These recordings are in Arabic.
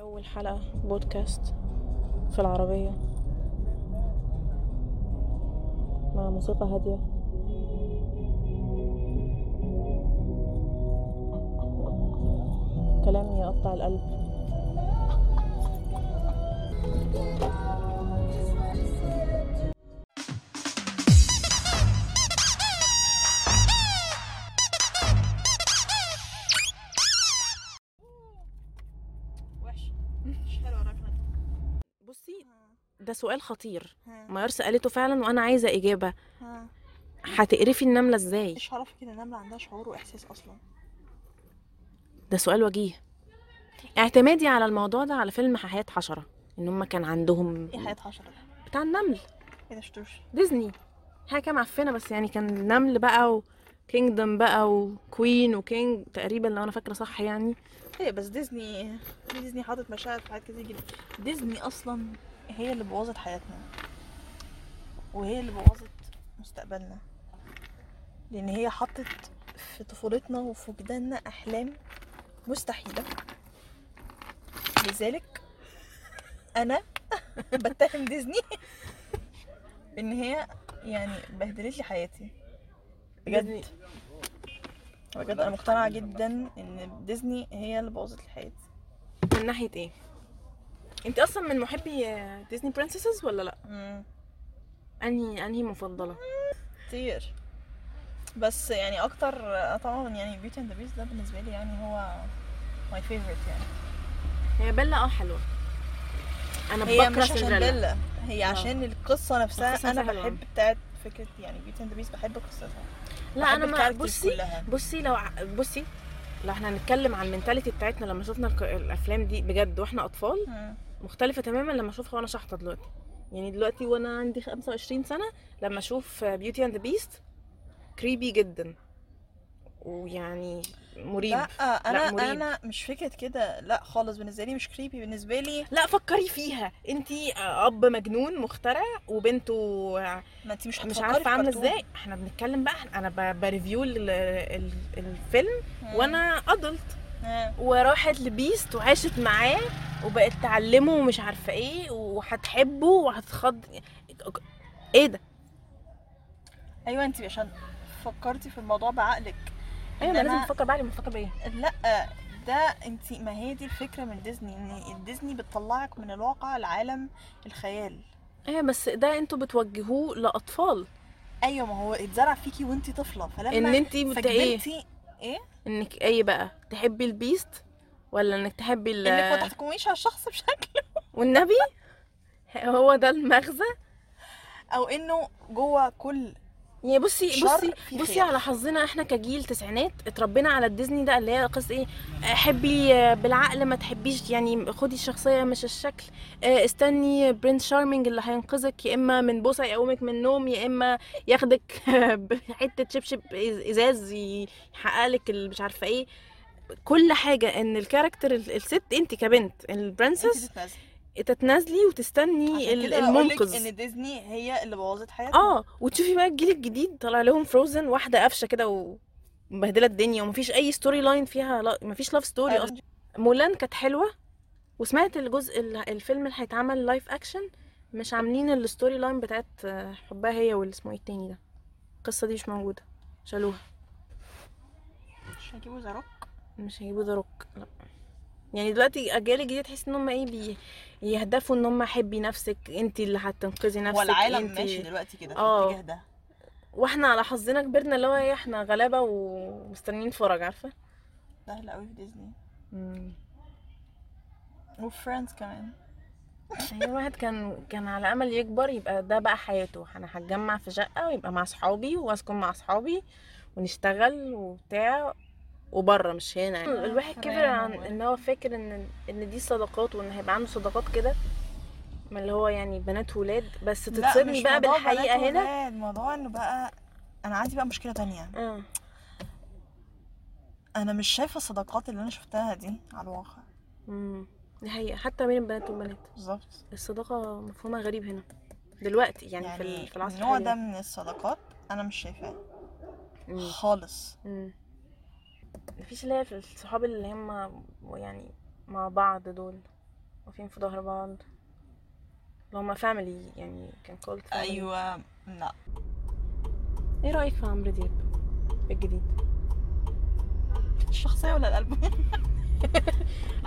أول حلقة بودكاست في العربية مع موسيقى هادية كلام يقطع القلب وحش مش حلوه ركنه بصي ده سؤال خطير ها ميار سألته فعلا وأنا عايزة إجابة ها هتقرفي النملة إزاي؟ مش هعرف كده النمله عندها شعور واحساس اصلا ده سؤال وجيه اعتمادي على الموضوع ده على فيلم حياة حشرة إن هما كان عندهم ايه حياه حشره ده بتاع النمل ايه ده شفتوش ديزني حاجه كده معفنه بس يعني كان نمل بقى وكينجدم بقى وكوين وكينج تقريبا لو انا فاكره صح يعني ايه بس ديزني ديزني حاطط مشاعر في حاجات كتير جدا ديزني اصلا هي اللي بوظت حياتنا وهي اللي بوظت مستقبلنا لان هي حطت في طفولتنا وفي وجداننا احلام مستحيله لذلك انا بتهم ديزني ان هي يعني بهدلت لي حياتي ديزني. بجد بجد انا مقتنعه جدا ان ديزني هي اللي بوظت لي حياتي من ناحيه ايه انت اصلا من محبي ديزني برنسسز ولا لا مم. انهي انهي مفضله كتير بس يعني اكتر آه، طبعا يعني بيوتي اند ذا بيست ده بالنسبه لي يعني هو ماي فيفورت يعني هي بيلا اه حلوه انا هي بكره مش عشان سندريلا بيلا هي آه. عشان القصه نفسها القصة انا نفسها حلوة. بحب بتاعت فكره يعني بيوتي اند ذا بيست بحب قصتها لا بحب انا ما الكاركترز بصي كلها بصي لو ع- بصي لو احنا هنتكلم عن المنتاليتي بتاعتنا لما شفنا الك- الافلام دي بجد واحنا اطفال مم. مختلفة تماما لما اشوفها وانا شحطة دلوقتي يعني دلوقتي وانا عندي 25 سنة لما اشوف بيوتي اند بيست كريبي جدا ويعني مريب لا لا, انا مريب. انا مش فكره كده لا خالص بالنسبه لي مش كريبي بالنسبه لي فكري فيها انتي اب مجنون مخترع وبنته ما انت مش مش هتفكري في عارفه عامله كرتون. ازاي احنا بنتكلم بقى انا ب- بريفيو ال- ال- الفيلم مم. وانا ادلت آه. وراحت لبيست وعاشت معاه وبقت تعلمه ومش عارفه ايه وهتحبه وهتخض ايه ده ايوه انت عشان فكرتي في الموضوع بعقلك ايوه ما إنما- لازم افكر بعد ما افكر بايه لا ده انت ما هي دي الفكره من ديزني ان ديزني بتطلعك من الواقع لعالم الخيال ايه بس ده انتوا بتوجهوه لاطفال ايوه ما هو اتزرع فيكي وانت طفله فلما ان انتي بت ايه فكبرتي انك ايه بقى تحبي البيست ولا انك تحبي ال... انك ما تحكميش على الشخص بشكل والنبي هو ده المغزى او انه جوه كل يعني بصي شر بصي في بصي خيار. على حظنا احنا كجيل تسعينات اتربينا على الديزني ده اللي هي قصة ايه حبي بالعقل ما تحبيش يعني خدي الشخصية مش الشكل اه، استني برنس شارمينج اللي هينقذك يا اما من بوسة يقومك من النوم يا اما ياخدك بحتة شبشب إز- ازاز يحقق لك مش عارفة ايه كل حاجة ان الكاركتر ال- الست انت كبنت انت البرنسس تتنازلي تتنازلي وتستني عشان ال- كده هقولك المنقذ ان ديزني هي اللي بوظت حياتنا اه وتشوفي بقى الجيل الجديد طالع لهم فروزن واحده قفشه كده ومبهدله الدنيا ومفيش اي ستوري لاين فيها لا مفيش لاف ستوري أيوة. اصلا مولان كانت حلوه وسمعت الجزء ال- الفيلم اللي هيتعمل لايف اكشن مش عاملين الستوري لاين بتاعت آه، حبها هي واللي اسمه ايه التاني ده القصه دي مش موجوده شالوها مش هجيبه ذا روك مش هيجيبوا ذا روك لا يعني دلوقتي اجيال الجديده تحس ان هم ايه بي- يهدفوا ان هم حبي نفسك انت اللي هتنقذي نفسك والعالم انت- ماشي دلوقتي كده في اه. الاتجاه ده واحنا على حظنا كبرنا اللي هو ايه احنا غلابه ومستنيين فرج عارفه سهل قوي في ديزني وفريندز كمان يعني الواحد كان كان على امل يكبر يبقى ده بقى حياته انا هتجمع في شقه ويبقى مع اصحابي واسكن مع اصحابي ونشتغل وبتاع وبره مش هنا يعني. الواحد كبر عن ان هو فاكر ان ان دي صداقات وان هيبقى عنده صداقات كده ما اللي هو يعني بنات ولاد بس لا، تتصدمي مش بقى موضوع بنات بالحقيقه هنا وولاد، الموضوع انه بقى انا عندي بقى مشكله تانية اه انا مش شايفه الصداقات اللي انا شفتها دي على الواقع امم دي حقيقه حتى بين البنات والبنات بالظبط الصداقة مفهومها غريب هنا دلوقتي يعني, في ال- يعني في العصر النوع ده الحالي. من الصداقات انا مش شايفاه مم. خالص مم. مفيش اللي هي في الصحاب اللي هم يعني مع بعض دول واقفين في ظهر بعض اللي هما فاميلي يعني كان كولد ايوه لا ايه رايك في عمرو دياب الجديد الشخصيه ولا الالبوم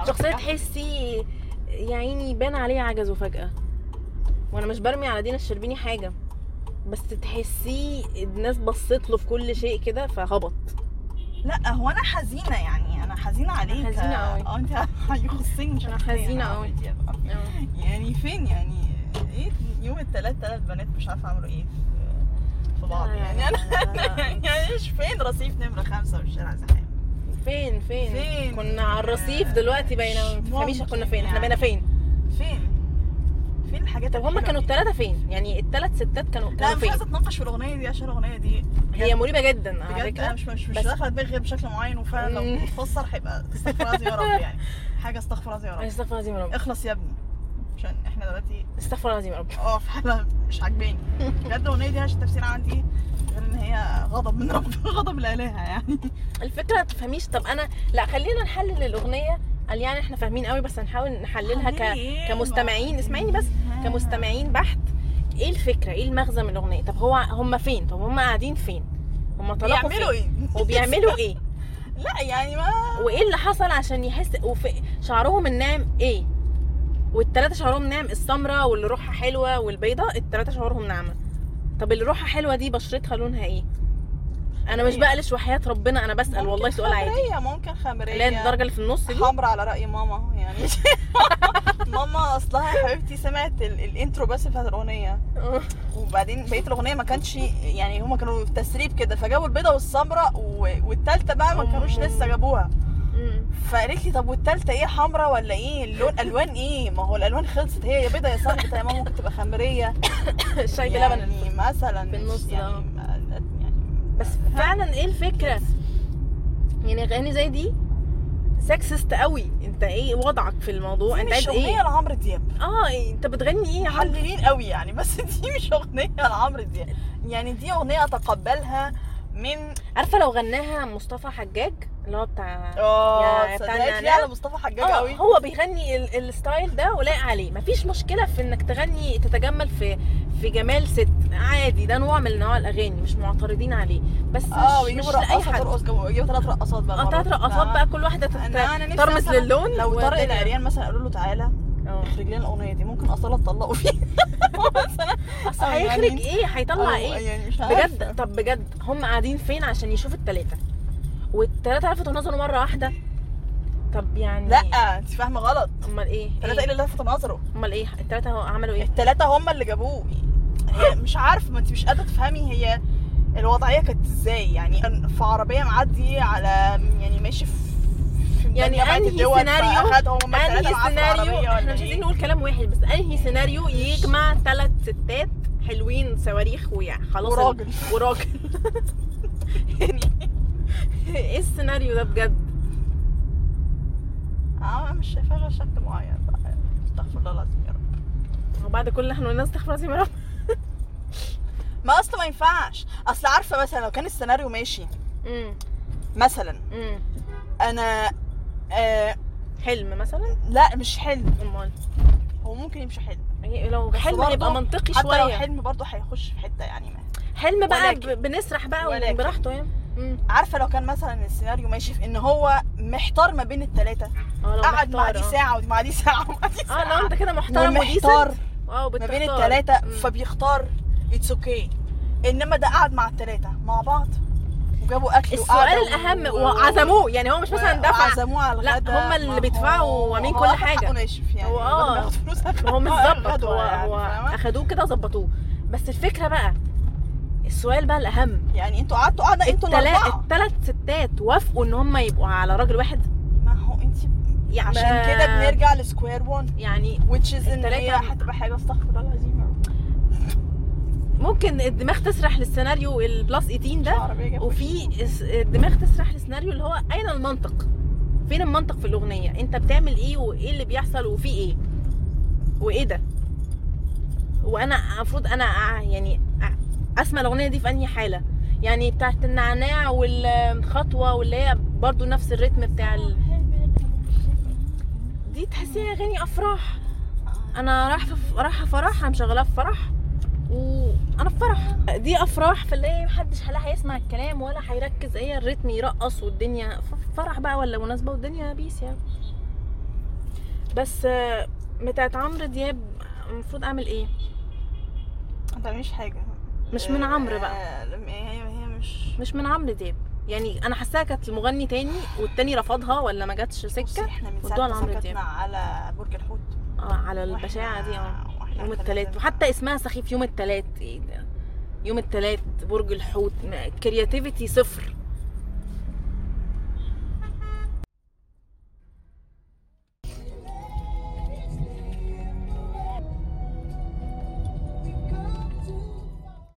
شخصيه تحسي يا عيني بان عليه عجزه فجاه وانا مش برمي على دينا الشربيني حاجه بس تحسيه الناس بصت له في كل شيء كده فهبط لا هو انا حزينه يعني انا حزينه عليك حزينة أوي. اه انت هيخصني أنا شخصياً. حزينة أوي. يبقى. يعني فين يعني ايه يوم التلات تلات بنات مش عارفه عملوا ايه في- في بعض يعني انا يعني مش فين رصيف نمره خمسه والشارع زحام فين فين فين؟ كنا على الرصيف دلوقتي بقينا ما مش تفهميش كنا ممكن فين احنا يعني. بقينا فين فين فين الحاجات طب هما الحلوة كانوا دي؟ الثلاثه فين يعني الثلاث ستات كانوا لا كانوا مش فين عايزه اتناقش في الاغنيه دي عشان الاغنيه دي هي مريبه جدا على بجد فكره انا مش مش, مش بس- داخله دماغي غير بشكل معين وفعلا لو مم. اتفسر هيبقى استغفر الله يا رب يعني حاجه استغفر الله يا رب استغفر الله العظيم يا رب اخلص يا ابني عشان احنا دلوقتي استغفر الله العظيم يا رب اه في حاله مش عاجباني بجد الاغنيه دي عشان التفسير عندي غير ان هي غضب من رب غضب لالهه يعني الفكره ما تفهميش طب انا لا خلينا نحلل الاغنيه قال يعني احنا فاهمين قوي بس هنحاول نحللها ك... ليه؟ كمستمعين اسمعيني بس آه. كمستمعين بحت ايه الفكره ايه المغزى من الاغنيه طب هو هم فين طب هم قاعدين فين هم طلعوا بيعملوا فين ايه؟ وبيعملوا ايه لا يعني ما وايه اللي حصل عشان يحس وفي شعرهم الناعم ايه والتلاتة شعرهم ناعم السمرة واللي روحها حلوة والبيضة التلاتة شعرهم ناعمة طب اللي روحها حلوة دي بشرتها لونها ايه انا مش إيه؟ بقلش وحياة ربنا انا بسأل ممكن والله سؤال عادي خمرية ممكن خمرية اللي هي الدرجة اللي في النص دي حمرا على رأي ماما يعني ماما اصلها يا حبيبتي سمعت ال- الانترو بس بتاعت الاغنية وبعدين بقية الاغنية ما كانش يعني هما كانوا في تسريب كده فجابوا البيضة والسمراء و- والتالتة بقى ما كانوش لسه جابوها مم. فقالت لي طب والتالتة ايه حمرا ولا ايه اللون الوان ايه ما هو الالوان خلصت هي يا بيضة يا سمراء يا ماما ممكن تبقى خمرية الشاي بلبن يعني مثلا طيب، في النص ده. يعني ما- يعني بس فعلا ايه الفكرة يعني اغاني زي دي سكسست قوي انت ايه وضعك في الموضوع انت دي مش عايز اغنية ايه لعمرو دياب اه انت بتغني ايه يا حاج محللين قوي يعني بس دي مش اغنيه لعمرو دياب يعني دي اغنيه اتقبلها من عارفه لو غناها مصطفى حجاج اللي هو بتاع اه يا بتاع صدقت لي النعناع. على يعني، مصطفى حجاج اه قوي هو بيغني ال- الستايل ده ولايق عليه مفيش مشكله في انك تغني تتجمل في في جمال ست عادي ده نوع من نوع الاغاني مش معترضين عليه بس اه مش, مش ويجيبوا لاي رقاصه حد ترقص جو- يجيبوا ثلاث رقاصات بقى اه مرة. تلات رقصات ف- بقى كل واحده تت- أنا- أنا نفسي ترمز مثلاً للون لو آه، طارق والدنيا- العريان مثلا قالوا له تعالى اه. اخرج لنا الاغنيه دي ممكن اصاله تطلقوا فيها مثلا اصل آه، يعني- هيخرج ايه هيطلع أو ايه يعني مش عارفة. بجد طب بجد هم قاعدين فين عشان يشوفوا التلاته والتلاته لفتوا نظره مره واحده طب يعني لا انت فاهمه غلط امال ايه الثلاثه إيه؟ اللي لفت نظره امال ايه التلاته عملوا ايه التلاتة هم اللي جابوه هي مش عارفه ما انت مش قادره تفهمي هي الوضعيه كانت ازاي يعني كان في عربيه معدي على يعني ماشي في في يعني مجمع أنهي الدول، سيناريو- فأخد هم التلاتة انهي معاه في سيناريو العربية احنا ولا مش عايزين إيه؟ نقول كلام واحد بس انهي سيناريو يجمع ثلاث ستات حلوين صواريخ وخلاص وراجل وراجل ايه السيناريو ده بجد اه مش شايفاها غير شكل معين بقى. استغفر الله العظيم يا رب وبعد كل اللي احنا قلناه استغفر الله العظيم يا رب ما اصل ما ينفعش اصل عارفه مثلا لو كان السيناريو ماشي أمم، مثلا أمم. انا آه حلم مثلا لا مش حلم امال هو ممكن يمشي حلم إيه لو يعني بس حلم برضه هيبقى منطقي حتى لو شويه حلم برضه هيخش في حته يعني ما حلم بقى ولكن- ب- بنسرح بقى ولكن. براحته يعني أمم. عارفه لو كان مثلا السيناريو ماشي في ان هو محتار ما بين الثلاثه اه لو قعد مع محتار، دي آه. ساعه ودي مع دي ساعه ومع دي ساعه اه لو انت كده محترم ومحتار وديسنت اه ما بين وبتختار. الثلاثه أمم. فبيختار اتس اوكي انما ده قعد مع الثلاثه مع بعض وجابوا اكل وقعدوا السؤال الاهم و- وعزموه يعني هو مش مثلا دفع وعزموه على لا، الغدا هما اللي ما هو- بيدفعوا وعاملين هو كل واخد حاجة. حقه ناشف يعني هو بدل ما آه. ياخد فلوس ما هو متظبط هو, يعني هو فاهمة؟ اخدوه كده وظبطوه بس الفكره بقى السؤال بقى الاهم يعني انتوا قعدتوا قعده انتوا التلا- الاربعه التلات ستات وافقوا ان هم يبقوا على راجل واحد ما هو انت يعني عشان ما- كده بنرجع لسكوير 1 يعني which is ان التلاتة هي عم- هتبقى حاجه استغفر الله العظيم يا رب. ممكن الدماغ تسرح للسيناريو البلس 18 ده العربية جابت وفي اس- الدماغ تسرح للسيناريو اللي هو اين المنطق فين المنطق في الاغنيه انت بتعمل ايه وايه اللي بيحصل وفي ايه وايه ده وانا المفروض انا أع- يعني أع- اسمع الاغنيه دي في انهي حاله يعني بتاعت النعناع والخطوه واللي هي برضو نفس الريتم بتاع ال... دي تحسيها اغاني افراح انا رايحه في- رايحه فرح انا مشغلاها في فرح وانا في فرح دي افراح فاللي محدش لا هيسمع الكلام ولا هيركز ايه الريتم يرقص والدنيا ف- فرح بقى ولا مناسبه والدنيا بيس يعني بس آه، بتاعت عمرو دياب المفروض اعمل ايه ما تعمليش حاجه مش من عمرو بقى آه، لم- هي هي مش مش من عمرو دياب يعني انا حاساها كانت لمغني تاني والتاني رفضها ولا ما جاتش بصي، سكه احنا من ودوها ساعه ما لعمرو دياب. سكتنا على برج الحوت اه على وإحنا- البشاعه دي اه وإحنا يوم كان التلات لازم- وحتى اسمها إيه سخيف يوم التلات ايه ده يوم التلات برج الحوت كرياتيفيتي صفر